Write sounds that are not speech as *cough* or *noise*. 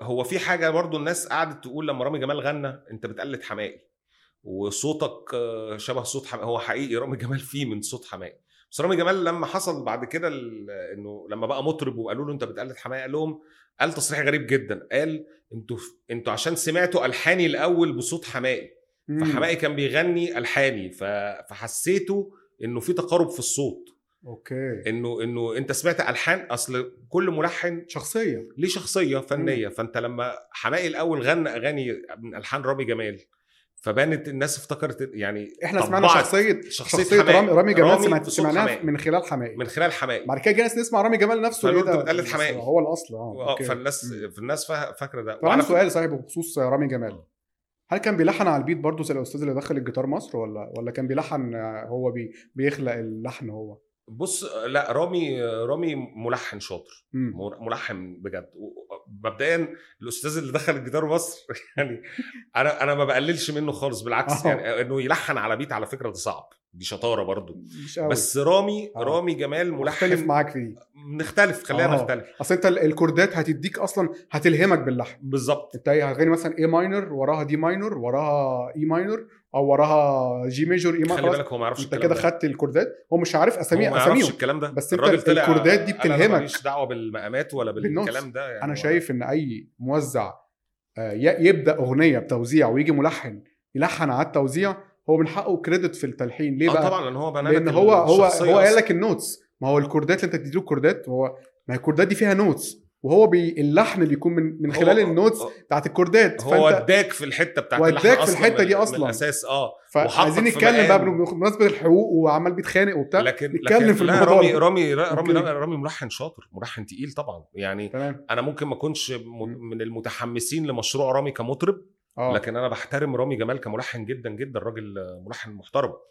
هو في حاجه برضو الناس قعدت تقول لما رامي جمال غنى انت بتقلد حماقي وصوتك آه، شبه صوت حماقي هو حقيقي رامي جمال فيه من صوت حماقي بس رامي جمال لما حصل بعد كده ال- انه لما بقى مطرب وقالوا له انت بتقلد حماقي قال لهم قال تصريح غريب جدا قال انتوا انتوا عشان سمعتوا الحاني الاول بصوت حماقي مم. فحماقي كان بيغني الحاني ف- فحسيته انه في تقارب في الصوت اوكي انه انه انت سمعت الحان اصل كل ملحن شخصيه ليه شخصيه فنيه فانت لما حماقي الاول غنى اغاني من الحان رامي جمال فبانت الناس افتكرت يعني احنا طبعت سمعنا شخصيه شخصيه, شخصيه رامي رامي جمال سمعت- في صوت سمعناها حماقي. من خلال حماقي من خلال حماقي بعد كده جينا نسمع رامي جمال نفسه فالواد إيه ده؟ بتقلد حماقي. هو الاصل اه آه، أوكي. فالناس مم. فالناس فا- فاكره ده طبعا وعلى عندي سؤال صحيح بخصوص رامي جمال هل كان بيلحن على البيت برضه زي الاستاذ اللي دخل الجيتار مصر ولا ولا كان بيلحن آه، هو بي بيخلق اللحن هو بص لا رامي رامي ملحن شاطر مم. ملحن بجد و- مبدئيا الاستاذ اللي دخل الجدار مصر *laughs* يعني انا انا ما بقللش منه خالص بالعكس آه. يعني انه يلحن على بيت على فكره ده صعب دي شطاره برضو مش قوي بس رامي آه. رامي جمال مختلف ملحن معاك في دي نختلف خلينا آه. نختلف اصل انت ال- الكوردات هتديك اصلا هتلهمك باللحن بالظبط انت إيه، هتغني مثلا اي ماينر وراها دي ماينر وراها اي ماينر او وراها جي ميجور اي خلي ماينر بالك هو ما يعرفش انت كده ده. خدت الكوردات هو مش عارف هو اسامي ما يعرفش اساميهم الكلام ده بس انت الراجل طلع الكوردات دي قال بتلهمك. انا ماليش دعوه بالمقامات ولا بالنص. بالكلام ده يعني انا هو- شايف ان اي موزع آه، ي- يبدا اغنيه بتوزيع ويجي ملحن يلحن على التوزيع هو من حقه كريدت في التلحين ليه اه إيه بقى؟ طبعا لان هو بنى لك لان هو هو الشخصية هو قال أصلاً. لك النوتس ما هو الكوردات اللي انت بتديله الكوردات هو ما هي الكوردات دي فيها نوتس وهو بي اللحن بيكون من من هو- خلال النوتس بتاعت الكوردات هو فانت وداك في الحته بتاعت وداك اللحن في أصلاً الحتة من- دي من أصلاً. الاساس اه فعايزين وحطك في نتكلم بقى مقام. بمناسبه الحقوق وعمال بيتخانق وبتاع لكن نتكلم لكن في لا، الموضوع رامي ده. رامي لا، رامي أوكي. رامي ملحن شاطر ملحن تقيل طبعا يعني تمام انا ممكن ما اكونش م- من المتحمسين لمشروع رامي كمطرب اه لكن انا بحترم رامي جمال كملحن جدا جدا راجل ملحن محترم